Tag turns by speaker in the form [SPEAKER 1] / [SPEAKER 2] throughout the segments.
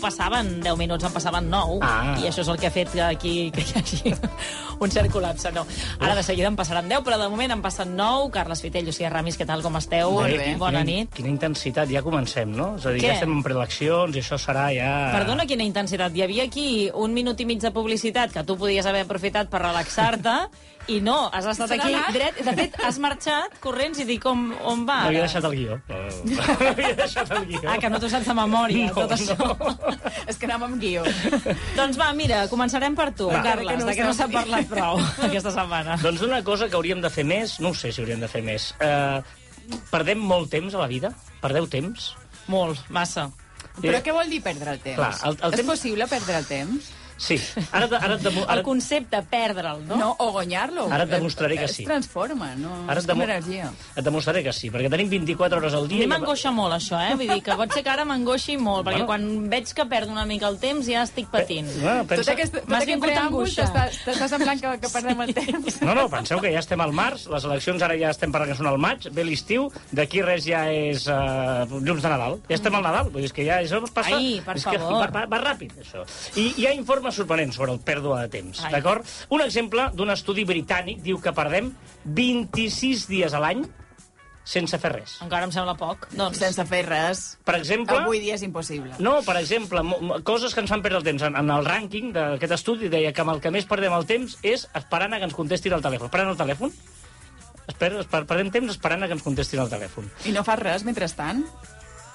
[SPEAKER 1] passaven 10 minuts, en passaven 9.
[SPEAKER 2] Ah.
[SPEAKER 1] I això és el que ha fet que aquí que hi hagi un cert col·lapse. No. Ara de seguida en passaran 10, però de moment en passen 9. Carles Fitell, Lucía Ramis, què tal, com esteu? Eh,
[SPEAKER 2] Bé, bé.
[SPEAKER 1] Bona
[SPEAKER 2] Quina-
[SPEAKER 1] nit.
[SPEAKER 2] Eh, Quina intensitat, ja comencem, no? És a dir,
[SPEAKER 1] Què?
[SPEAKER 2] ja estem en preeleccions i això serà ja...
[SPEAKER 1] Perdona quina intensitat. Hi havia aquí un minut i mig de publicitat que tu podies haver aprofitat per relaxar-te i no, has estat aquí dret. De fet, has marxat corrents i dic on, on va. ara?
[SPEAKER 2] No havia deixat el guió. No, havia deixat el guió.
[SPEAKER 1] Ah, que no t'ho saps de memòria,
[SPEAKER 2] No,
[SPEAKER 1] tot això.
[SPEAKER 2] no.
[SPEAKER 1] És que anàvem amb guió. doncs va, mira, començarem per tu, va, Carles, que
[SPEAKER 3] Encara que
[SPEAKER 1] no
[SPEAKER 3] no
[SPEAKER 1] de què no
[SPEAKER 3] ho
[SPEAKER 1] s'ha
[SPEAKER 3] sàpiga.
[SPEAKER 1] parlat prou aquesta setmana.
[SPEAKER 2] Doncs una cosa que hauríem de fer més, no ho sé si hauríem de fer més. Uh, perdem molt temps a la vida? Perdeu temps?
[SPEAKER 1] Molt, massa.
[SPEAKER 3] Però què vol dir perdre el temps?
[SPEAKER 2] Clar, el- el
[SPEAKER 3] És
[SPEAKER 2] temps-
[SPEAKER 3] possible perdre el temps?
[SPEAKER 2] Sí. Ara, te- ara, et demo-
[SPEAKER 1] El
[SPEAKER 2] ara,
[SPEAKER 1] concepte, perdre'l, no?
[SPEAKER 3] No, o guanyar-lo.
[SPEAKER 2] Ara et demostraré que
[SPEAKER 3] Es-
[SPEAKER 2] sí.
[SPEAKER 3] Es transforma, no?
[SPEAKER 2] ara et,
[SPEAKER 3] és com
[SPEAKER 2] demo
[SPEAKER 3] energia.
[SPEAKER 2] et demostraré que sí, perquè tenim 24 hores al
[SPEAKER 1] A
[SPEAKER 2] dia...
[SPEAKER 1] mi
[SPEAKER 2] i-
[SPEAKER 1] m'angoixa molt, això, eh? Vull dir que pot ser que ara m'angoixi molt, perquè
[SPEAKER 2] Bueno.
[SPEAKER 1] quan veig que perdo una mica el temps ja estic patint.
[SPEAKER 2] No,
[SPEAKER 3] Tot
[SPEAKER 2] Ah, pensa...
[SPEAKER 3] aquest, tot
[SPEAKER 1] M'has
[SPEAKER 3] aquest
[SPEAKER 1] vingut
[SPEAKER 3] preàmbul
[SPEAKER 1] angoixa.
[SPEAKER 3] t'està t'està semblant que, que perdem el temps.
[SPEAKER 2] No, no, penseu que ja estem al març, les eleccions ara ja estem parlant que són al maig, ve l'estiu, d'aquí res ja és uh, llums de Nadal. Ja estem al Nadal, vull dir, és que ja això passa...
[SPEAKER 1] Mm. Ai, per
[SPEAKER 2] és que
[SPEAKER 1] favor.
[SPEAKER 2] Va, va, va ràpid, això. I hi ha informes sorprenents sobre el pèrdua de temps,
[SPEAKER 1] Ai.
[SPEAKER 2] d'acord? Un exemple d'un estudi britànic diu que perdem 26 dies a l'any sense fer res.
[SPEAKER 1] Encara em sembla poc. Doncs,
[SPEAKER 3] Sense fer res.
[SPEAKER 2] Per exemple...
[SPEAKER 3] Avui dia és impossible.
[SPEAKER 2] No, per exemple, mo- mo- coses que ens fan perdre el temps. En, en el rànquing d'aquest estudi deia que amb el que més perdem el temps és esperant a que ens contestin el telèfon. Esperant el telèfon? Esper, esper, perdem temps esperant a que ens contestin el telèfon.
[SPEAKER 3] I no fas res mentrestant?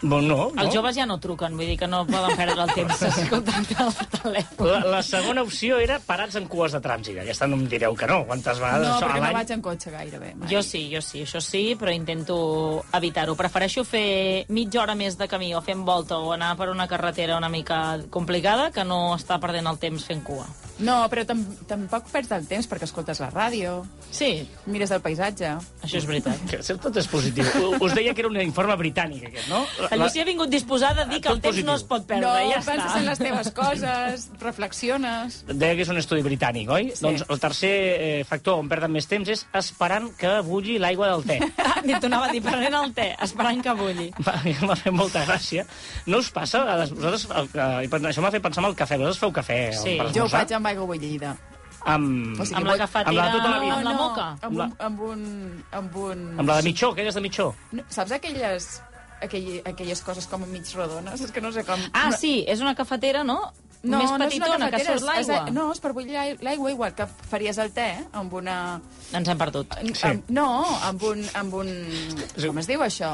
[SPEAKER 2] Bon, no, no.
[SPEAKER 1] els joves ja no truquen, vull dir que no poden perdre el temps si contacten el telèfon.
[SPEAKER 2] La, la segona opció era parats en cues de trànsit. Aquesta no em direu que no. Quantes vegades
[SPEAKER 3] No,
[SPEAKER 2] Ah, doncs això
[SPEAKER 3] perquè
[SPEAKER 2] a
[SPEAKER 3] no
[SPEAKER 2] l'any...
[SPEAKER 3] vaig en cotxe gairebé. Mai.
[SPEAKER 1] Jo sí, jo sí, això sí, però intento evitar-ho. Prefereixo fer mitja hora més de camí o fent volta o anar per una carretera una mica complicada que no estar perdent el temps fent cua.
[SPEAKER 3] No, però tam tampoc perds el temps perquè escoltes la ràdio,
[SPEAKER 1] Sí,
[SPEAKER 3] mires el paisatge.
[SPEAKER 1] això és veritat.
[SPEAKER 2] Que sempre tot és positiu. U- Us deia que era un informe britànic, aquest, no? La-
[SPEAKER 1] La Lucía ha vingut disposada a dir que el
[SPEAKER 2] Tot
[SPEAKER 1] temps no
[SPEAKER 2] positiu.
[SPEAKER 1] es pot
[SPEAKER 3] no,
[SPEAKER 1] perdre, ja
[SPEAKER 3] penses
[SPEAKER 1] està.
[SPEAKER 3] en les teves coses, reflexiones...
[SPEAKER 2] Deia que és un estudi britànic, oi? Sí. Doncs el tercer eh, factor on perden més temps és esperant que bulli l'aigua del te.
[SPEAKER 1] Ni t'ho anava a dir, prenent el te, esperant que bulli.
[SPEAKER 2] Va, m'ha fet molta gràcia. No us passa? A les, vosaltres, eh, i per- això m'ha fet pensar en el cafè. Vosaltres feu cafè
[SPEAKER 1] Sí.
[SPEAKER 2] per
[SPEAKER 3] Jo ho
[SPEAKER 2] esmorzar?
[SPEAKER 3] faig amb aigua bullida.
[SPEAKER 2] Amb...
[SPEAKER 3] O sigui,
[SPEAKER 1] Amb la
[SPEAKER 3] vull-
[SPEAKER 1] cafetera,
[SPEAKER 2] amb la- tota la vida.
[SPEAKER 1] amb la moca.
[SPEAKER 3] Amb un,
[SPEAKER 2] Amb
[SPEAKER 3] amb un, amb un...
[SPEAKER 2] Amb la de mitjó, aquelles de mitjó.
[SPEAKER 3] No, saps aquelles, aquell, aquelles coses com mig rodones? És que no sé com...
[SPEAKER 1] Ah,
[SPEAKER 3] no,
[SPEAKER 1] sí, és una cafetera, no?
[SPEAKER 3] No,
[SPEAKER 1] Més
[SPEAKER 3] no és una
[SPEAKER 1] petitona, que
[SPEAKER 3] cafetera,
[SPEAKER 1] surt
[SPEAKER 3] és-
[SPEAKER 1] l'aigua.
[SPEAKER 3] és- No, és per bullir l'ai- l'aigua, igual que faries el te eh, amb una...
[SPEAKER 1] Ens hem perdut.
[SPEAKER 2] Sí.
[SPEAKER 3] Amb, no, amb un, amb un... Com es diu això?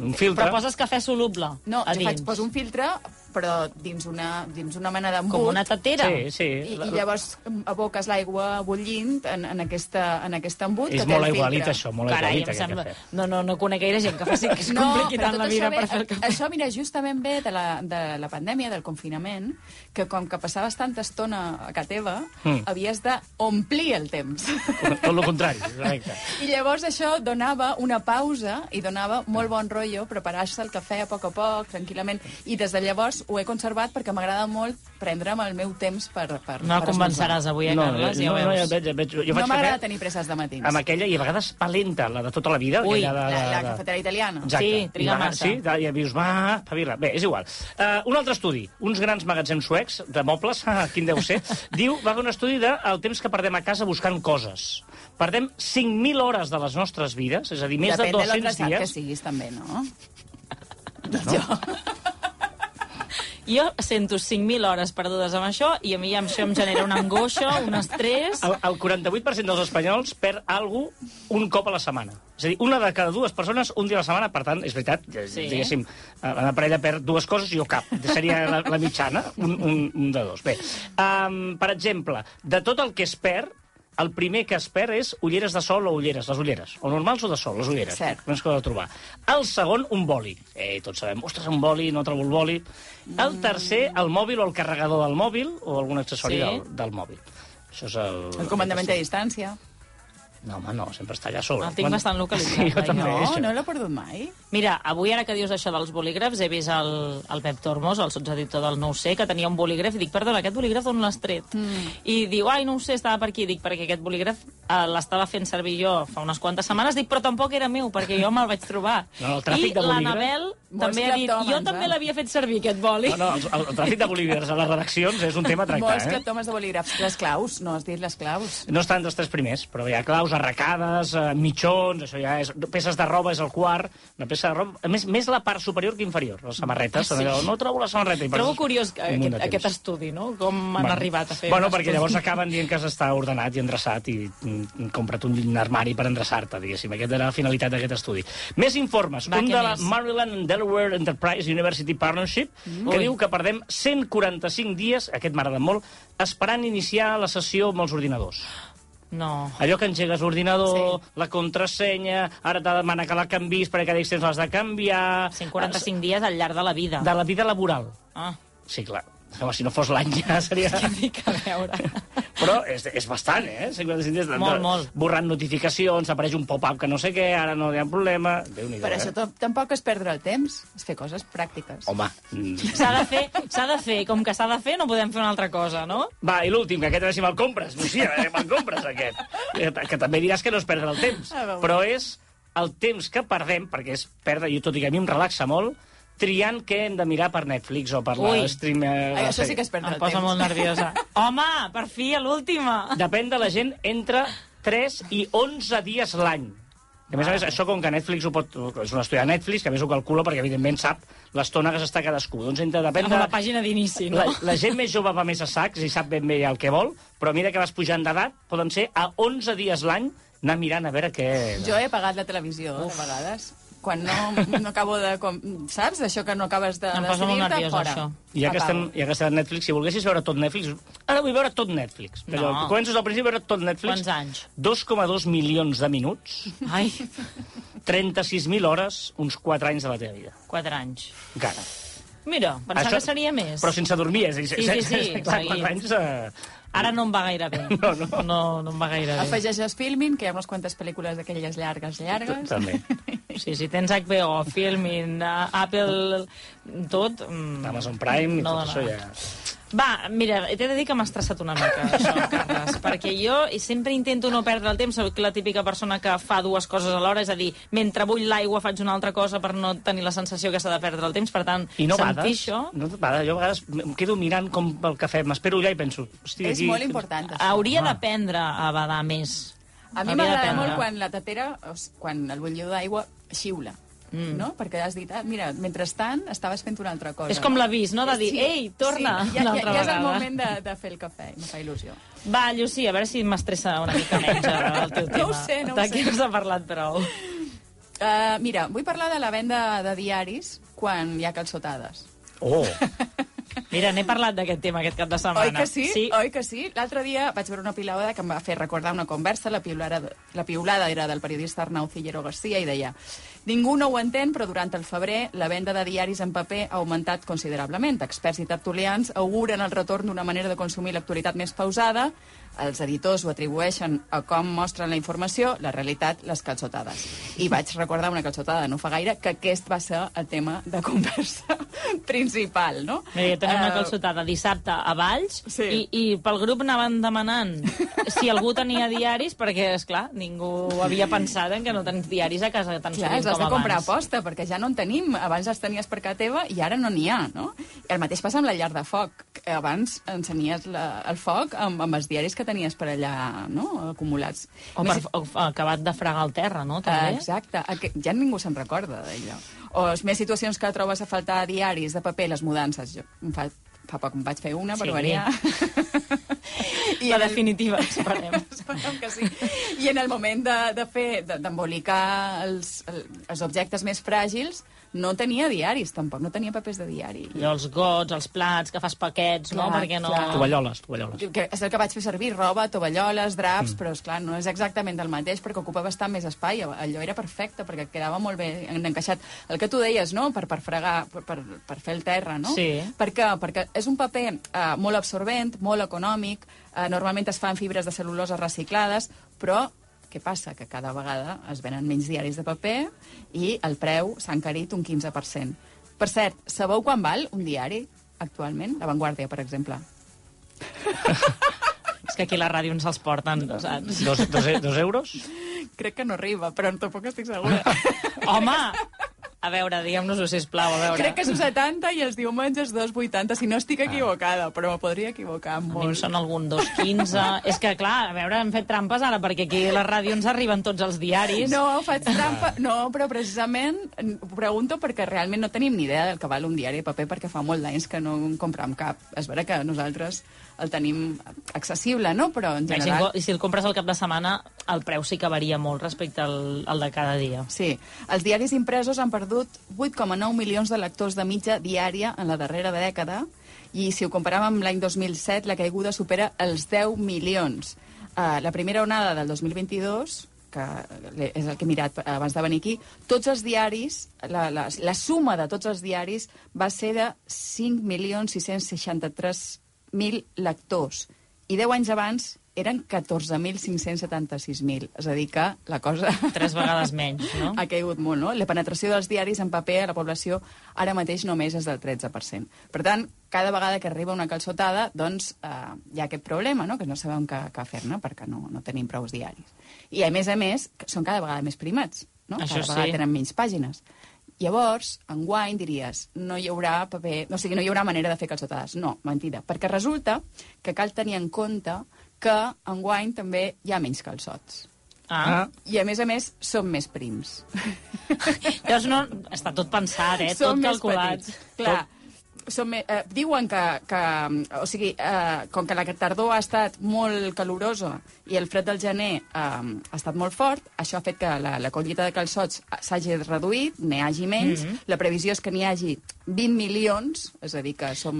[SPEAKER 2] Un filtre.
[SPEAKER 1] Però poses cafè soluble
[SPEAKER 3] No,
[SPEAKER 1] a
[SPEAKER 3] jo
[SPEAKER 1] dins.
[SPEAKER 3] faig, poso un filtre, però dins una, dins una mena d'embut.
[SPEAKER 1] Com una tetera.
[SPEAKER 2] Sí, sí.
[SPEAKER 3] I, I llavors aboques l'aigua bullint en, en, aquesta, en aquest embut
[SPEAKER 2] És
[SPEAKER 3] que té
[SPEAKER 2] molt
[SPEAKER 3] el filtre.
[SPEAKER 2] aigualit, això, molt
[SPEAKER 1] Carai,
[SPEAKER 2] aigualit,
[SPEAKER 1] em
[SPEAKER 2] aquest
[SPEAKER 1] sembla...
[SPEAKER 2] cafè.
[SPEAKER 1] No, no, no conec gaire gent que faci que es compliqui
[SPEAKER 3] però
[SPEAKER 1] tant
[SPEAKER 3] tot
[SPEAKER 1] la vida
[SPEAKER 3] això ve-
[SPEAKER 1] per fer el cafè.
[SPEAKER 3] Això, mira, justament ve de la, de la pandèmia, del confinament, que com que passaves tanta estona a casa teva,
[SPEAKER 2] Mm.
[SPEAKER 1] Hmm.
[SPEAKER 3] mm. havies d'omplir el temps.
[SPEAKER 2] Tot el contrari. Correcte.
[SPEAKER 3] I llavors això donava una pausa i donava molt bon rotllo preparar-se el cafè a poc a poc, tranquil·lament. I des de llavors ho he conservat perquè m'agrada molt prendre'm el meu temps per... per
[SPEAKER 1] No
[SPEAKER 3] per
[SPEAKER 1] convenceràs
[SPEAKER 3] esmorzar.
[SPEAKER 1] avui, eh, Carles? ja ho
[SPEAKER 2] no, no, ja
[SPEAKER 1] veus.
[SPEAKER 2] et veig, et veig. Jo
[SPEAKER 3] No
[SPEAKER 2] faig
[SPEAKER 3] m'agrada
[SPEAKER 2] cafè
[SPEAKER 3] tenir presses de matins.
[SPEAKER 2] amb aquella i a vegades pa lenta, la de tota la vida.
[SPEAKER 1] Ui,
[SPEAKER 2] aquella de,
[SPEAKER 3] La,
[SPEAKER 2] de,
[SPEAKER 1] eh,
[SPEAKER 3] la
[SPEAKER 2] de-
[SPEAKER 3] cafetera italiana.
[SPEAKER 2] Exacte.
[SPEAKER 1] Sí, triga
[SPEAKER 2] I va-
[SPEAKER 1] massa.
[SPEAKER 2] Sí, de- ja dius, va, espavila. Bé, és igual. Uh, un altre estudi. Uns grans magatzems suecs de mobles, ah, quin deu ser, diu, va fer un estudi de el temps que perdem a casa buscant coses. Perdem 5.000 hores de les nostres vides, és a dir, més
[SPEAKER 3] Depèn
[SPEAKER 2] de
[SPEAKER 3] de l'endreçat
[SPEAKER 2] 200
[SPEAKER 3] que
[SPEAKER 2] dies.
[SPEAKER 3] siguis, també, no?
[SPEAKER 1] Jo sento 5.000 hores perdudes amb això i a mi ja això em genera una angoixa, un estrès...
[SPEAKER 2] El, el 48% dels espanyols perd algú un cop a la setmana. És a dir, una de cada dues persones un dia a la setmana, per tant, és veritat,
[SPEAKER 1] Sí.
[SPEAKER 2] sí. diguéssim, eh, la parella perd dues coses i jo cap. Seria la, la mitjana, un, un, un de dos. Bé, um, per exemple, de tot el que es perd, el primer que es perd és ulleres de sol o ulleres, les ulleres. O normals o de sol, les ulleres.
[SPEAKER 3] Cert.
[SPEAKER 2] No ens cal trobar. El segon, un boli. Eh, tots sabem, ostres, un boli, no trobo el boli. El tercer, el mòbil o el carregador del mòbil o algun accessori
[SPEAKER 1] Sí.
[SPEAKER 2] sí. del, del mòbil. Això és el...
[SPEAKER 3] El comandament a distància.
[SPEAKER 2] No, home, no, sempre està allà a sobre.
[SPEAKER 1] El tinc bastant localitzat,
[SPEAKER 2] Sí, jo
[SPEAKER 1] eh?
[SPEAKER 2] també,
[SPEAKER 3] No,
[SPEAKER 2] això.
[SPEAKER 3] no l'he perdut mai.
[SPEAKER 1] Mira, avui, ara que dius això dels bolígrafs, he vist el, el Pep Tormos, el sotseditor del No ho sé, que tenia un bolígraf, i dic, perdona, aquest bolígraf d'on l'has tret? Mm. I diu, ai, no ho sé, estava per aquí. Dic, perquè aquest bolígraf eh, l'estava fent servir jo fa unes quantes setmanes. Dic, però tampoc era meu, perquè jo me'l vaig trobar.
[SPEAKER 2] No, el tràfic
[SPEAKER 1] I
[SPEAKER 2] de bolígrafs-
[SPEAKER 1] l'Anabel
[SPEAKER 3] Molts
[SPEAKER 1] també ha dit, jo
[SPEAKER 3] cleptòmens,
[SPEAKER 1] també
[SPEAKER 3] eh?"
[SPEAKER 1] l'havia fet servir, aquest boli.
[SPEAKER 2] No, no, el, el, el tràfic de bolígrafs a les redaccions és un tema a tractar,
[SPEAKER 3] Molts
[SPEAKER 2] eh?
[SPEAKER 3] cleptomes de bolígrafs. Les claus, no has dit les claus.
[SPEAKER 2] No estan dels tres primers, però hi ha claus, arracades, eh, mitjons, això ja és... Peces de roba és el quart, una peça de roba... A més, més la part superior que inferior, les samarretes. Sí. Allò, no trobo la samarreta. i
[SPEAKER 1] Ah, Trobo
[SPEAKER 2] perds
[SPEAKER 1] curiós que-
[SPEAKER 2] un munt
[SPEAKER 1] aquest,
[SPEAKER 2] de temps.
[SPEAKER 1] aquest estudi, no? Com han arribat a fer...
[SPEAKER 2] Bueno,
[SPEAKER 1] un
[SPEAKER 2] perquè
[SPEAKER 1] estudi.
[SPEAKER 2] llavors acaben dient que s'està ordenat i endreçat i mm, compra't un armari per endreçar-te, diguéssim. Aquesta era la finalitat d'aquest estudi. Més informes.
[SPEAKER 1] Va,
[SPEAKER 2] un
[SPEAKER 1] què
[SPEAKER 2] de la
[SPEAKER 1] més?
[SPEAKER 2] Maryland and Delaware Enterprise University Partnership mm. que
[SPEAKER 1] Ui.
[SPEAKER 2] diu que perdem 145 dies, aquest m'agrada molt, esperant iniciar la sessió amb els ordinadors.
[SPEAKER 1] No.
[SPEAKER 2] Allò que engegues l'ordinador,
[SPEAKER 1] Sí.
[SPEAKER 2] sí. la contrasenya, ara t'ha de demanar que la canvis perquè cada X temps l'has de canviar...
[SPEAKER 1] 145 dies al llarg de la vida.
[SPEAKER 2] De la vida laboral.
[SPEAKER 1] Ah,
[SPEAKER 2] Sí, clar. Home, si no fos l'any ja seria...
[SPEAKER 1] dic a veure.
[SPEAKER 2] Però és, és bastant, eh? 55 dies de-
[SPEAKER 1] Molt,
[SPEAKER 2] de-
[SPEAKER 1] molt.
[SPEAKER 2] Borrant notificacions, apareix un pop-up que no sé què, ara no hi ha problema... déu nhi
[SPEAKER 3] Per això
[SPEAKER 2] eh?
[SPEAKER 3] to- tampoc és perdre el temps, és fer coses pràctiques.
[SPEAKER 2] Home... mm.
[SPEAKER 1] S'ha de, fer, s'ha de fer, com que s'ha de fer, no podem fer una altra cosa, no?
[SPEAKER 2] Va, i l'últim, que aquest a veure si me'l compres. Lucia, a veure si me'l compres, aquest. Que, que també diràs que no és perdre el temps.
[SPEAKER 3] A veure.
[SPEAKER 2] Però és el temps que perdem, perquè és perdre, i tot i que a mi em relaxa molt, triant què hem de mirar per Netflix o per
[SPEAKER 1] Ui.
[SPEAKER 2] la stream... eh,
[SPEAKER 3] Ai,
[SPEAKER 2] la
[SPEAKER 3] això
[SPEAKER 2] sèrie.
[SPEAKER 3] sí que és perdre
[SPEAKER 1] Em
[SPEAKER 3] el
[SPEAKER 1] posa
[SPEAKER 3] temps.
[SPEAKER 1] molt nerviosa. Home, per fi, a l'última.
[SPEAKER 2] Depèn de la gent entre 3 i 11 dies l'any. A més a més, això com que Netflix ho pot... És un estudi de Netflix, que a més ho calcula perquè, evidentment, sap l'estona que s'està cadascú. Doncs entre, depèn
[SPEAKER 1] Amb
[SPEAKER 2] de...
[SPEAKER 1] la pàgina d'inici, no?
[SPEAKER 2] La, la gent més jove va més a sacs i sap ben bé el que vol, però mira que vas pujant d'edat, poden ser a 11 dies l'any anar mirant a veure què...
[SPEAKER 3] Jo he pagat la televisió, Uf. de vegades. Quan no, no acabo de... Com, saps? Això que no acabes de
[SPEAKER 1] Em posa molt
[SPEAKER 3] decidir-te,
[SPEAKER 1] nerviosa,
[SPEAKER 3] fora.
[SPEAKER 1] això.
[SPEAKER 2] I ja que, estem,
[SPEAKER 3] Apago.
[SPEAKER 2] ja que estem a Netflix, si volguessis veure tot Netflix... Ara vull veure tot Netflix. Però
[SPEAKER 1] No.
[SPEAKER 2] comences al principi a veure tot Netflix.
[SPEAKER 1] Quants anys?
[SPEAKER 2] 2,2 milions de minuts,
[SPEAKER 1] Ai,
[SPEAKER 2] 36.000 hores, uns 4 anys de la teva vida.
[SPEAKER 1] 4 anys.
[SPEAKER 2] Encara.
[SPEAKER 1] Mira, pensava que seria més.
[SPEAKER 2] Però sense dormir, és a dir,
[SPEAKER 1] Sí, sí, sí,
[SPEAKER 2] clar,
[SPEAKER 1] seguit.
[SPEAKER 2] 4 anys... Eh...
[SPEAKER 1] Ara no em va gaire bé.
[SPEAKER 2] No, no.
[SPEAKER 1] No, no em va gaire bé.
[SPEAKER 3] Afegeix a Filmin, que hi ha unes quantes pel·lícules d'aquelles llargues,
[SPEAKER 1] Doncs-
[SPEAKER 3] llargues.
[SPEAKER 2] També.
[SPEAKER 1] Sí, si tens HBO, Filmin, a- Apple, tot... mm,
[SPEAKER 2] Amazon Prime i
[SPEAKER 1] no
[SPEAKER 2] tot
[SPEAKER 1] dona.
[SPEAKER 2] això ja...
[SPEAKER 1] Va, mira, t'he de dir que m'ha estressat una mica, això, Carles, perquè jo sempre intento no perdre el temps, soc la típica persona que fa dues coses alhora, és a dir, mentre bull l'aigua faig una altra cosa per no tenir la sensació que s'ha de perdre el temps, per tant,
[SPEAKER 2] I no
[SPEAKER 1] sentir
[SPEAKER 2] bades?
[SPEAKER 1] això...
[SPEAKER 2] No bades? Jo a vegades em quedo mirant com el cafè, m'espero allà i penso... Hosti,
[SPEAKER 3] És molt important, això.
[SPEAKER 1] Hauria
[SPEAKER 2] Ah.
[SPEAKER 1] d'aprendre a badar més.
[SPEAKER 3] A mi
[SPEAKER 1] Hauria
[SPEAKER 3] m'agrada
[SPEAKER 1] d'aprendre.
[SPEAKER 3] molt quan la tetera, o s- quan el bullidor d'aigua xiula. Mm. No? Perquè has dit, ah, mira, mentrestant estaves fent una altra cosa.
[SPEAKER 1] És com l'avís, no?, de dir,
[SPEAKER 3] Sí,
[SPEAKER 1] ei, torna
[SPEAKER 3] sí. ja, ja,
[SPEAKER 1] l'altra
[SPEAKER 3] ja és el
[SPEAKER 1] vegada.
[SPEAKER 3] moment de, de fer el cafè, em fa il·lusió.
[SPEAKER 1] Va, Llucí, a veure si m'estressa una mica menys ara el teu
[SPEAKER 3] No
[SPEAKER 1] tema.
[SPEAKER 3] ho sé, no ho
[SPEAKER 1] de
[SPEAKER 3] sé.
[SPEAKER 1] què us ha parlat prou?
[SPEAKER 3] Uh, mira, vull parlar de la venda de diaris quan hi ha calçotades.
[SPEAKER 2] Oh,
[SPEAKER 1] Mira, n'he parlat d'aquest tema aquest cap de setmana.
[SPEAKER 3] Oi que sí?
[SPEAKER 1] Sí,
[SPEAKER 3] Oi que sí? L'altre dia vaig veure una piulada que em va fer recordar una conversa. La piulada, la piulada era del periodista Arnau Cillero García i deia Ningú no ho entén, però durant el febrer la venda de diaris en paper ha augmentat considerablement. Experts i tertulians auguren el retorn d'una manera de consumir l'actualitat més pausada. Els editors ho atribueixen a com mostren la informació, la realitat, les calçotades. I vaig recordar una calçotada no fa gaire, que aquest va ser el tema de conversa principal, no?
[SPEAKER 1] Mira, jo tenia una
[SPEAKER 3] Eh,
[SPEAKER 1] calçotada dissabte a Valls
[SPEAKER 3] Sí.
[SPEAKER 1] i, i pel grup anaven demanant si algú tenia diaris perquè, és clar ningú havia pensat en que no tens diaris a casa tan
[SPEAKER 3] Clar,
[SPEAKER 1] sovint
[SPEAKER 3] els has
[SPEAKER 1] com
[SPEAKER 3] de comprar a
[SPEAKER 1] abans.
[SPEAKER 3] posta, perquè ja no en tenim. Abans els tenies per casa teva i ara no n'hi ha, no? I el mateix passa amb la llar de foc. que Abans encenies la, el foc amb, amb els diaris que tenies per allà, no?, acumulats.
[SPEAKER 1] O,
[SPEAKER 3] Més-
[SPEAKER 1] per, o f- acabat de fregar el terra, no?
[SPEAKER 3] Ah,
[SPEAKER 1] També?
[SPEAKER 3] Exacte, Aqu- ja ningú se'n recorda d'allò. O és més situacions que trobes a faltar a diaris de paper, les mudances. Jo em fa, fa poc em vaig fer una,
[SPEAKER 1] Sí.
[SPEAKER 3] per variar.
[SPEAKER 1] I la
[SPEAKER 3] en el-
[SPEAKER 1] definitiva, esperem.
[SPEAKER 3] Esperem que sí. I en el moment de, de fer, de- d'embolicar els, el- els objectes més fràgils, no tenia diaris, tampoc, no tenia papers de diari.
[SPEAKER 1] Allò, els gots, els plats, que fas paquets, no?
[SPEAKER 3] Clar,
[SPEAKER 1] Perquè no...
[SPEAKER 3] clar.
[SPEAKER 2] tovalloles, tovalloles.
[SPEAKER 3] Que és el que vaig fer servir, roba, tovalloles, draps, mm. però és clar, no és exactament el mateix perquè ocupa bastant més espai. Allò era perfecte perquè quedava molt bé en- encaixat. El que tu deies, no?, per, per fregar, per, per, per fer el terra, no?
[SPEAKER 1] Sí.
[SPEAKER 3] Per què? Perquè és un paper eh, molt absorbent, molt econòmic, eh, normalment es fa en fibres de cel·lulosa reciclades, però Què passa? Que cada vegada es venen menys diaris de paper i el preu s'ha encarit un 15%. Per cert, sabeu quan val un diari actualment? La Vanguardia, per exemple.
[SPEAKER 1] És que aquí la ràdio ens els porten, saps?
[SPEAKER 2] Dos, dos, e- dos euros?
[SPEAKER 3] Crec que no arriba, però tampoc estic segura.
[SPEAKER 1] Home! A veure, diguem-nos-ho, sisplau, a veure.
[SPEAKER 3] Crec que és un 70 i els diumenges 2,80, si no estic equivocada, però me podria equivocar
[SPEAKER 1] Ah. A mi em
[SPEAKER 3] molt.
[SPEAKER 1] sona algun 2.15... és que, clar, a veure, hem fet trampes ara, perquè aquí a la ràdio ens arriben tots els diaris.
[SPEAKER 3] No, faig
[SPEAKER 1] Ah.
[SPEAKER 3] trampa. No, però precisament n- ho pregunto perquè realment no tenim ni idea del que val un diari de paper perquè fa molt d'anys que no en comprem cap. És vera que nosaltres el tenim accessible, no? Però en
[SPEAKER 1] I si,
[SPEAKER 3] general...
[SPEAKER 1] i si el compres al cap de setmana, el preu sí que varia molt respecte al, al de cada dia.
[SPEAKER 3] Sí, els diaris impresos han perdut 8,9 milions de lectors de mitja diària en la darrera dècada i si ho comparem amb l'any 2007, la caiguda supera els 10 milions. Uh, la primera onada del 2022, que l'he- és el que he mirat abans de venir aquí, tots els diaris, la, la, la suma de tots els diaris va ser de 5.663.000 lectors. I 10 anys abans eren 14.576.000. És a dir que la cosa
[SPEAKER 1] Tres vegades menys, no?
[SPEAKER 3] ha caigut molt, no? La penetració dels diaris en paper a la població ara mateix només és del 13%. Per tant, cada vegada que arriba una calçotada, doncs eh, hi ha aquest problema, no?, que no sabem què, què fer-ne perquè no, no tenim prous diaris. I, a més a més, que són cada vegada més primats, no?
[SPEAKER 1] Això
[SPEAKER 3] cada vegada
[SPEAKER 1] sí.
[SPEAKER 3] tenen menys pàgines. Llavors, enguany diries, no hi haurà paper... O sigui, no hi haurà manera de fer calçotades. No, mentida. Perquè resulta que cal tenir en compte que enguany també hi ha menys calçots.
[SPEAKER 1] Ah.
[SPEAKER 3] I, a més a més, són més prims.
[SPEAKER 1] Llavors no... Està tot pensat, eh?
[SPEAKER 3] Són
[SPEAKER 1] tot
[SPEAKER 3] més
[SPEAKER 1] calculat.
[SPEAKER 3] petits. Clar, són me, eh, diuen que, que o sigui, eh, com que la tardor ha estat molt calorosa i el fred del gener eh, ha estat molt fort, això ha fet que la, la collita de calçots s'hagi reduït, n'hi hagi menys.
[SPEAKER 1] Mhm.
[SPEAKER 3] La previsió és que n'hi hagi 20 milions, és a dir, que som...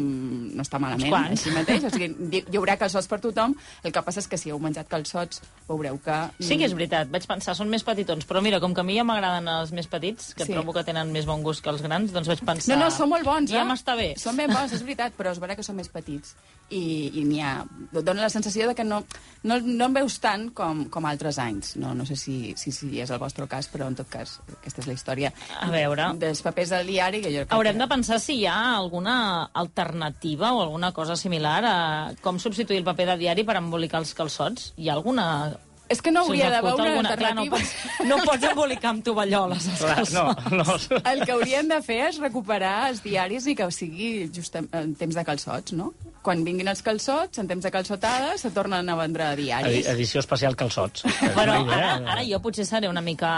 [SPEAKER 3] no està malament,
[SPEAKER 1] Uns quants.
[SPEAKER 3] així mateix. O sigui, hi- hi haurà calçots per tothom. El que passa és que si heu menjat calçots veureu que...
[SPEAKER 1] Sí que és veritat, vaig pensar, són més petitons, però mira, com que a mi ja m'agraden els més petits, que
[SPEAKER 3] Sí.
[SPEAKER 1] sí. trobo que tenen més bon gust que els grans, doncs vaig pensar...
[SPEAKER 3] No, no, són molt bons,
[SPEAKER 1] Ja
[SPEAKER 3] eh?
[SPEAKER 1] m'està bé.
[SPEAKER 3] Són ben bons, és veritat, però és vera que són més petits. I, i n'hi ha... Dóna la sensació de que no, no, no en veus tant com, com altres anys. No, no sé si, si, si és el vostre cas, però en tot cas, aquesta és la història
[SPEAKER 1] A veure.
[SPEAKER 3] dels papers del diari. Que jo crec
[SPEAKER 1] Haurem
[SPEAKER 3] que...
[SPEAKER 1] de pensar si hi ha alguna alternativa o alguna cosa similar a com substituir el paper de diari per embolicar els calçots. Hi ha alguna...
[SPEAKER 3] És que no hauria
[SPEAKER 1] Se'ns
[SPEAKER 3] de
[SPEAKER 1] acut
[SPEAKER 3] veure
[SPEAKER 1] alguna? Clar, no,
[SPEAKER 3] alternativa.
[SPEAKER 1] pots, no pots embolicar amb tovalloles els
[SPEAKER 2] Clar,
[SPEAKER 1] calçots.
[SPEAKER 2] no, no.
[SPEAKER 3] El que haurien de fer és recuperar els diaris i que sigui just en, en temps de calçots, no? Quan vinguin els calçots, en temps de calçotada, se tornen a vendre diaris.
[SPEAKER 2] Edi- Edició especial calçots. eh?
[SPEAKER 1] Però
[SPEAKER 2] Una idea.
[SPEAKER 1] ara, ara jo potser seré una mica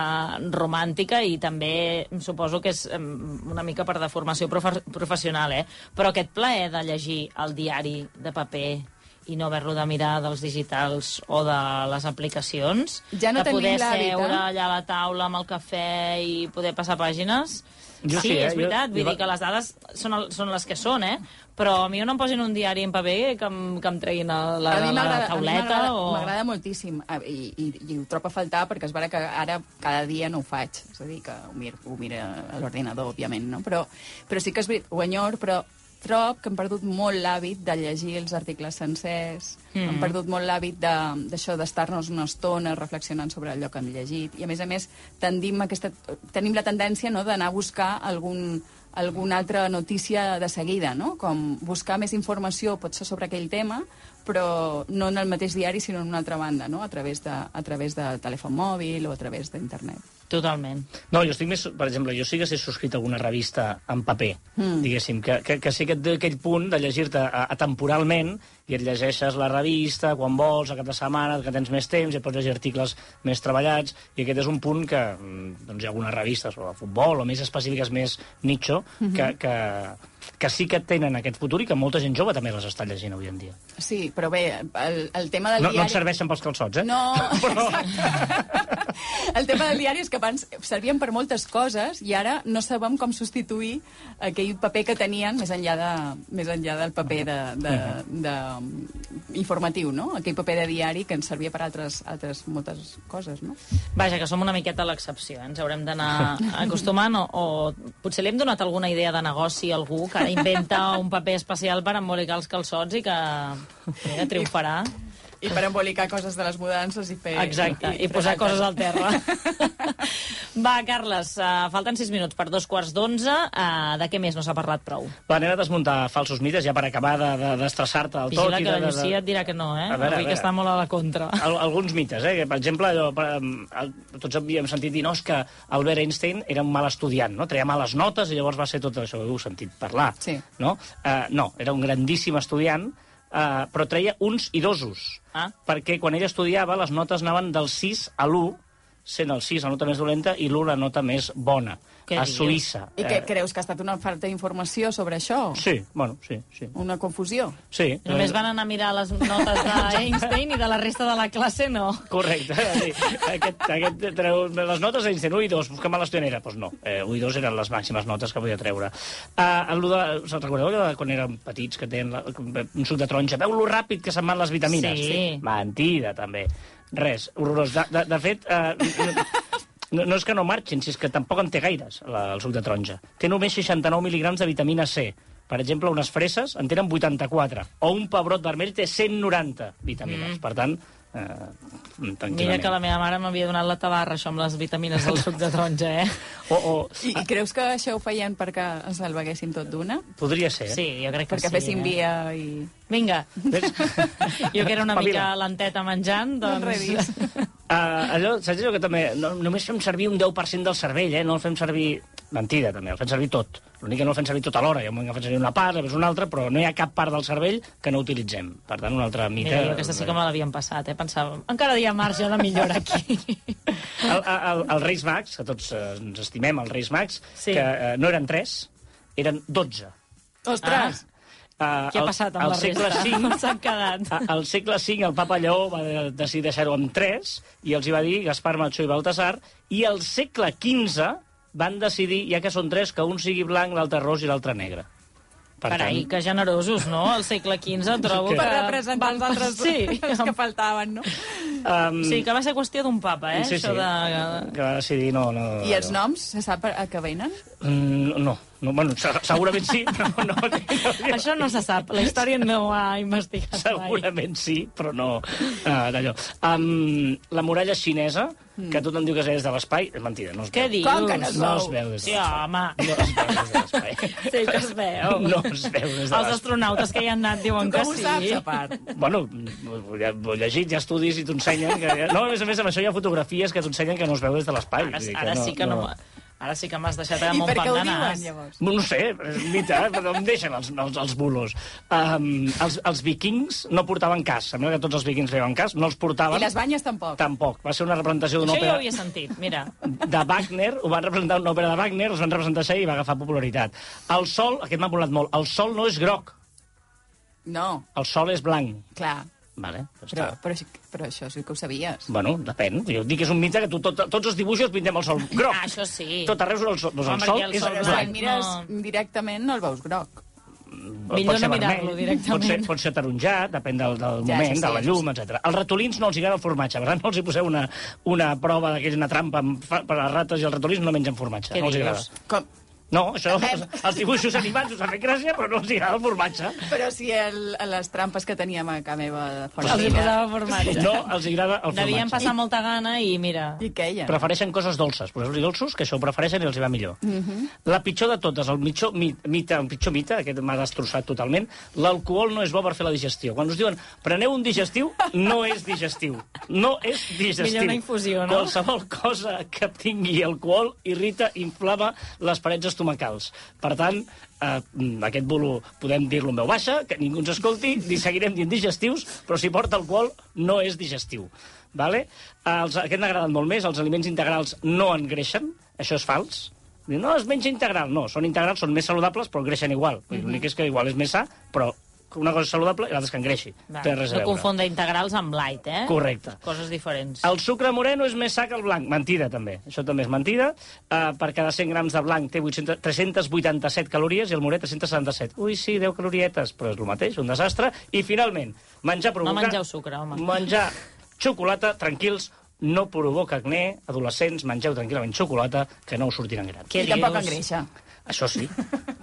[SPEAKER 1] romàntica i també suposo que és em, una mica per deformació profe professional, eh? Però aquest plaer de llegir el diari de paper i no haver-lo de mirar dels digitals o de les aplicacions,
[SPEAKER 3] Ja
[SPEAKER 1] de
[SPEAKER 3] no tenim
[SPEAKER 1] poder
[SPEAKER 3] l'hàbit, eh?
[SPEAKER 1] seure allà a la taula amb el cafè i poder passar pàgines...
[SPEAKER 2] Jo
[SPEAKER 1] sí,
[SPEAKER 2] sí, eh?
[SPEAKER 1] és veritat,
[SPEAKER 2] Jo-
[SPEAKER 1] vull
[SPEAKER 2] jo-
[SPEAKER 1] dir que les dades són, el, són les que són, eh? Però a mi no em posin un diari en paper que em, que em treguin a la,
[SPEAKER 3] a mi
[SPEAKER 1] la,
[SPEAKER 3] m'agrada-
[SPEAKER 1] la
[SPEAKER 3] a mi
[SPEAKER 1] tauleta
[SPEAKER 3] m'agrada-
[SPEAKER 1] o...
[SPEAKER 3] M'agrada moltíssim a- i, i, i ho trobo a faltar perquè es veu que ara cada dia no ho faig. És a dir, que ho miro, ho miro a l'ordinador, òbviament, no? Però, però sí que és veritat, ho enyor, però trob que han perdut molt l'hàbit de llegir els articles sencers, mm. han perdut molt l'hàbit de- d'això d'estar-nos una estona reflexionant sobre allò que hem llegit, i a més a més tendim aquesta, tenim la tendència no, d'anar a buscar algun, alguna altra notícia de seguida, no? com buscar més informació, potser sobre aquell tema, però no en el mateix diari, sinó en una altra banda, no? a, través de, a través de telèfon mòbil o a través d'internet.
[SPEAKER 1] Totalment.
[SPEAKER 2] No, jo estic més... Per exemple, jo sí que sé subscrit a alguna revista en paper,
[SPEAKER 3] Hmm.
[SPEAKER 2] mm. diguéssim, que, que, que sí que et té aquell punt de llegir-te a- atemporalment i et llegeixes la revista quan vols, a cap de setmana, que tens més temps, i et pots llegir articles més treballats, i aquest és un punt que mm, doncs, hi ha algunes revistes sobre futbol o més específiques, més nicho, mm -hmm.
[SPEAKER 3] Mhm.
[SPEAKER 2] que, que, que sí que tenen aquest futur i que molta gent jove també les està llegint avui en dia.
[SPEAKER 3] Sí, però bé, el, el tema del
[SPEAKER 2] No,
[SPEAKER 3] diari...
[SPEAKER 2] no et serveixen pels calçots, eh?
[SPEAKER 3] No,
[SPEAKER 2] Però-
[SPEAKER 3] exacte. El tema del diari és que abans servien per moltes coses i ara no sabem com substituir aquell paper que tenien més enllà, de, més enllà del paper de, de, de, informatiu, no? Aquell paper de diari que ens servia per altres, altres moltes coses, no?
[SPEAKER 1] Vaja, que som una miqueta l'excepció, eh? ens haurem d'anar acostumant o, o potser li hem donat alguna idea de negoci a algú que ara inventa un paper especial per embolicar els calçots i que, bé, que triomfarà.
[SPEAKER 3] I per embolicar coses de les mudances i fer...
[SPEAKER 1] Exacte, i, posar coses al terra. Va, Carles, uh, falten 6 minuts per dos quarts d'onze. Uh, de què més no s'ha parlat prou?
[SPEAKER 2] Va, anem a desmuntar falsos mites, ja per acabar de- de- d'estressar-te de, del tot.
[SPEAKER 1] Vigila
[SPEAKER 2] i
[SPEAKER 1] que
[SPEAKER 2] de-
[SPEAKER 1] la
[SPEAKER 2] de- de-
[SPEAKER 1] Llucia et dirà que no, eh?
[SPEAKER 2] A veure, a
[SPEAKER 1] Avui
[SPEAKER 2] veure. Ah.
[SPEAKER 1] que està molt a la contra.
[SPEAKER 2] Al, alguns mites, eh? Que, Per exemple, allò, per, em, el, tots havíem sentit dir, no, és que Albert Einstein era un mal estudiant, no? Treia males notes i llavors va ser tot això, heu sentit parlar,
[SPEAKER 3] Sí.
[SPEAKER 2] no? Eh, no, era un grandíssim estudiant, eh, però treia uns i dosos,
[SPEAKER 1] Ah.
[SPEAKER 2] perquè quan ell estudiava les notes anaven del 6 a l'1, sent el 6 la nota més dolenta i l'1 la nota més bona,
[SPEAKER 1] Què
[SPEAKER 2] a
[SPEAKER 1] dius?
[SPEAKER 2] Suïssa. eh?
[SPEAKER 3] I que creus que ha estat una falta d'informació sobre això?
[SPEAKER 2] Sí, bueno, sí, sí.
[SPEAKER 3] Una confusió?
[SPEAKER 2] sí
[SPEAKER 1] Només van anar a mirar les notes d'Einstein i de la resta de la classe no.
[SPEAKER 2] Correcte. Sí. Aquest, aquest treu les notes ells diuen 1 i 2, que mala estudiant era. Doncs no, eh, 1 i 2 eren les màximes notes que podia treure. Uh, de, us en recordeu allò de quan érem petits, que tenien la, un suc de taronja? Veu lo ràpid que se'n van les vitamines?
[SPEAKER 1] Sí.
[SPEAKER 2] Mentida, també. Res, horrorós. De, de, de fet, uh, no, no és que no marxin, si és que tampoc en té gaires, la, el suc de taronja. Té només 69 mil·ligrams de vitamina C. Per exemple, unes fresses en tenen 84. O un pebrot vermell té 190 vitamines. Mm. Per tant, eh, tranquil·lament.
[SPEAKER 1] Mira que la meva mare m'havia donat la tabarra, això amb les vitamines del suc de taronja, eh?
[SPEAKER 2] O, o...
[SPEAKER 3] I,
[SPEAKER 1] Ah.
[SPEAKER 3] I creus que això ho feien perquè ens el beguéssim tot d'una?
[SPEAKER 2] Podria ser. eh?
[SPEAKER 1] Sí, jo crec que
[SPEAKER 3] Perquè
[SPEAKER 1] sí.
[SPEAKER 3] féssim
[SPEAKER 1] eh?
[SPEAKER 3] via i...
[SPEAKER 1] Vinga.
[SPEAKER 2] Ves?
[SPEAKER 1] Jo que era una mica
[SPEAKER 2] Espavila.
[SPEAKER 1] lenteta menjant,
[SPEAKER 3] Doncs
[SPEAKER 1] doncs...
[SPEAKER 3] revis.
[SPEAKER 2] Uh, allò, saps allò que també... No, només fem servir un 10% del cervell, eh? No el fem servir... Mentida, també, el fem servir tot. L'únic que no el fem servir tota tot alhora. Hi ha un moment que fem servir una part, després una altra, però no hi ha cap part del cervell que no utilitzem. Per tant, una altra mita...
[SPEAKER 1] Mira, jo aquesta sí que me l'havien passat, eh? Pensava, encara hi ha marge de millora aquí.
[SPEAKER 2] el, el, el Reis Mags, que tots eh, ens estimem, els Reis Mags,
[SPEAKER 1] Sí.
[SPEAKER 2] que eh, no eren 3, eren 12.
[SPEAKER 3] Ostres!
[SPEAKER 2] Uh,
[SPEAKER 1] Què ha passat amb
[SPEAKER 2] el,
[SPEAKER 1] la
[SPEAKER 2] el segle Ah,
[SPEAKER 1] resta?
[SPEAKER 2] V,
[SPEAKER 1] On s'han quedat?
[SPEAKER 2] A- Al segle V el papa Lleó va de- decidir deixar-ho amb 3 i els hi va dir Gaspar, Melchor i Baltasar i al segle XV van decidir, ja que són tres, que un sigui blanc, l'altre ros i l'altre negre. Per
[SPEAKER 1] Carai,
[SPEAKER 2] tant,
[SPEAKER 1] que generosos, no? Al segle XV trobo
[SPEAKER 2] Sí,
[SPEAKER 1] que...
[SPEAKER 3] Per representar els altres
[SPEAKER 1] Sí,
[SPEAKER 3] els que faltaven, no?
[SPEAKER 2] um,
[SPEAKER 1] sí, que va ser qüestió d'un papa, eh? Això de...
[SPEAKER 2] que va decidir no... no
[SPEAKER 3] I els noms, se sap a què venen?
[SPEAKER 2] Mm, No, no, bueno, se- segurament sí, però no... no, no
[SPEAKER 1] Això no se sap, la història no ho ha investigat mai.
[SPEAKER 2] Segurament sí, però no uh, d'allò. Um, la muralla xinesa, que tothom diu que és de l'espai, és mentida, no es
[SPEAKER 1] Mm. Què
[SPEAKER 2] veu.
[SPEAKER 1] dius?
[SPEAKER 3] Com que no es
[SPEAKER 2] No
[SPEAKER 3] veu?
[SPEAKER 2] es veu des de
[SPEAKER 1] Sí,
[SPEAKER 2] l'espai.
[SPEAKER 1] home.
[SPEAKER 2] No es veu des de l'espai.
[SPEAKER 1] Sí que es veu.
[SPEAKER 2] No es veu des de
[SPEAKER 1] Els
[SPEAKER 2] l'espai.
[SPEAKER 1] astronautes que hi han anat diuen que
[SPEAKER 3] Com ho
[SPEAKER 1] sí.
[SPEAKER 3] saps, a part?
[SPEAKER 2] Bueno, ja, ho he llegit, ja estudis i t'ensenyen... Que... No, a més a més, amb això hi ha fotografies que t'ensenyen que no es veu des de l'espai.
[SPEAKER 1] Ara,
[SPEAKER 2] Vull dir
[SPEAKER 1] ara sí que no... Ara sí que m'has deixat amb
[SPEAKER 3] I
[SPEAKER 1] un
[SPEAKER 3] per què ho diuen,
[SPEAKER 1] pandanàs.
[SPEAKER 3] llavors?
[SPEAKER 2] No ho sé, és un mite, eh? però em deixen els, els, els bulos. Um, els, els vikings no portaven cas. Sembla que tots els vikings feien cas, no els portaven.
[SPEAKER 3] I les banyes tampoc.
[SPEAKER 2] Tampoc. Va ser una representació d'una
[SPEAKER 1] Això ja ho
[SPEAKER 2] òpera...
[SPEAKER 1] havia sentit, mira.
[SPEAKER 2] de Wagner, ho van representar en una òpera de Wagner, els van representar això i va agafar popularitat. El sol, aquest m'ha volat molt, el sol no és groc,
[SPEAKER 3] No,
[SPEAKER 2] el sol és blanc.
[SPEAKER 3] clar.
[SPEAKER 2] Vale, ja està.
[SPEAKER 3] Però, però, però això sí que ho sabies.
[SPEAKER 2] Bueno, depèn. Jo dic que és un mite que tu, tot, tots els dibuixos pintem el sol groc.
[SPEAKER 1] Ah, això sí.
[SPEAKER 2] Tot arreu surt el sol. Doncs
[SPEAKER 1] Home,
[SPEAKER 2] el sol,
[SPEAKER 1] perquè el
[SPEAKER 2] és
[SPEAKER 1] sol
[SPEAKER 3] Però si el
[SPEAKER 2] blanc.
[SPEAKER 3] mires
[SPEAKER 1] No.
[SPEAKER 3] directament no el veus groc.
[SPEAKER 2] Pot
[SPEAKER 1] Millor
[SPEAKER 2] ser
[SPEAKER 1] no mirar-lo
[SPEAKER 2] vermell,
[SPEAKER 1] directament.
[SPEAKER 2] Pot ser, pot ser taronjat, depèn del, del
[SPEAKER 3] Ja,
[SPEAKER 2] moment,
[SPEAKER 3] sí, sí,
[SPEAKER 2] de la
[SPEAKER 3] sí.
[SPEAKER 2] llum, etc. Els ratolins no els hi agrada el formatge. Per tant, no els hi poseu una, una prova d'aquells, una trampa amb, fa- per a les rates i els ratolins no mengen formatge.
[SPEAKER 1] Què
[SPEAKER 2] no els hi
[SPEAKER 1] dius?
[SPEAKER 2] agrada.
[SPEAKER 3] Com...
[SPEAKER 2] No, això,
[SPEAKER 3] Pep.
[SPEAKER 2] els dibuixos animats us han fet gràcia, però no els hi agrada el formatge.
[SPEAKER 3] Però si el, les trampes que teníem a casa meva de fora
[SPEAKER 1] Els hi posava formatge.
[SPEAKER 2] Tota- No els hi agrada el
[SPEAKER 1] Devien
[SPEAKER 2] formatge.
[SPEAKER 1] passar molta gana i mira...
[SPEAKER 3] I queien. Però...
[SPEAKER 2] Prefereixen coses dolces, poseu-los dolços, que això ho prefereixen i els hi va millor.
[SPEAKER 1] Mhm.
[SPEAKER 2] La pitjor de totes, el pitjor mi- mite, el pitjor mite aquest m'ha destrossat totalment, l'alcohol no és bo per fer la digestió. Quan us diuen, preneu un digestiu, no és digestiu. No és digestiu.
[SPEAKER 1] Millor una infusió, no?
[SPEAKER 2] Qualsevol cosa que tingui alcohol irrita, inflama les parets estomacals. Per tant, eh, mm, aquest bolo podem dir-lo en veu baixa, que ningú ens escolti, i seguirem dient digestius, però si porta alcohol no és digestiu. Vale? Els, aquest m'ha agradat molt més, els aliments integrals no engreixen, això és fals. Diu, No, es menja integral. No, són integrals, són més saludables, però engreixen igual. Vull dir,
[SPEAKER 1] Mhm.
[SPEAKER 2] L'únic és que igual és més sa, però una cosa és saludable i l'altra és que engreixi.
[SPEAKER 1] Va,
[SPEAKER 2] Té res a
[SPEAKER 1] no
[SPEAKER 2] veure.
[SPEAKER 1] confondre integrals amb light, eh?
[SPEAKER 2] Correcte.
[SPEAKER 1] Coses diferents.
[SPEAKER 2] El sucre moreno és més sa que el blanc. Mentida, també. Això també és mentida. Uh, per cada 100 grams de blanc té 800, 387 calories i el moret 377. Ui, sí, 10 calorietes, però és el mateix, un desastre. I, finalment, menjar provoca...
[SPEAKER 1] mengeu sucre, home.
[SPEAKER 2] Menjar xocolata, tranquils, no provoca acné. Adolescents, mengeu tranquil·lament xocolata, que no us sortiran grans.
[SPEAKER 1] Què
[SPEAKER 3] I tampoc
[SPEAKER 1] dius?
[SPEAKER 3] engreixa.
[SPEAKER 2] Això sí,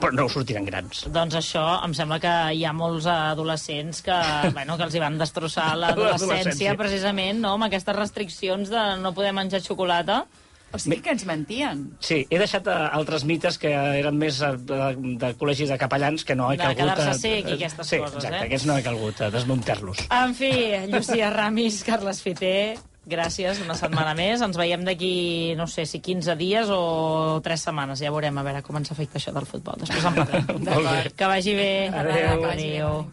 [SPEAKER 2] però no us sortiran grans.
[SPEAKER 1] Doncs això, em sembla que hi ha molts eh, adolescents que, bueno, que els hi van destrossar l'adolescència
[SPEAKER 2] L'adolescència.
[SPEAKER 1] precisament, no?, amb aquestes restriccions de no poder menjar xocolata.
[SPEAKER 3] O sigui que ens mentien.
[SPEAKER 2] Sí, he deixat eh, altres mites que eren més eh, de, de col·legis de capellans que no he
[SPEAKER 1] De
[SPEAKER 2] calgut...
[SPEAKER 1] quedar-se
[SPEAKER 2] eh,
[SPEAKER 1] sec i aquestes
[SPEAKER 2] sí,
[SPEAKER 1] coses,
[SPEAKER 2] exacte,
[SPEAKER 1] eh?
[SPEAKER 2] aquests no he calgut, eh, desmuntar-los.
[SPEAKER 1] En fi, Llucia Ramis, Carles Fiter, gràcies una setmana més. Ens veiem d'aquí, no sé, si 15 dies o 3 setmanes. Ja veurem a veure com ens afecta això del futbol. Després en parlem.
[SPEAKER 2] Molt bé.
[SPEAKER 1] Que vagi bé.
[SPEAKER 2] Adéu.
[SPEAKER 1] Adéu.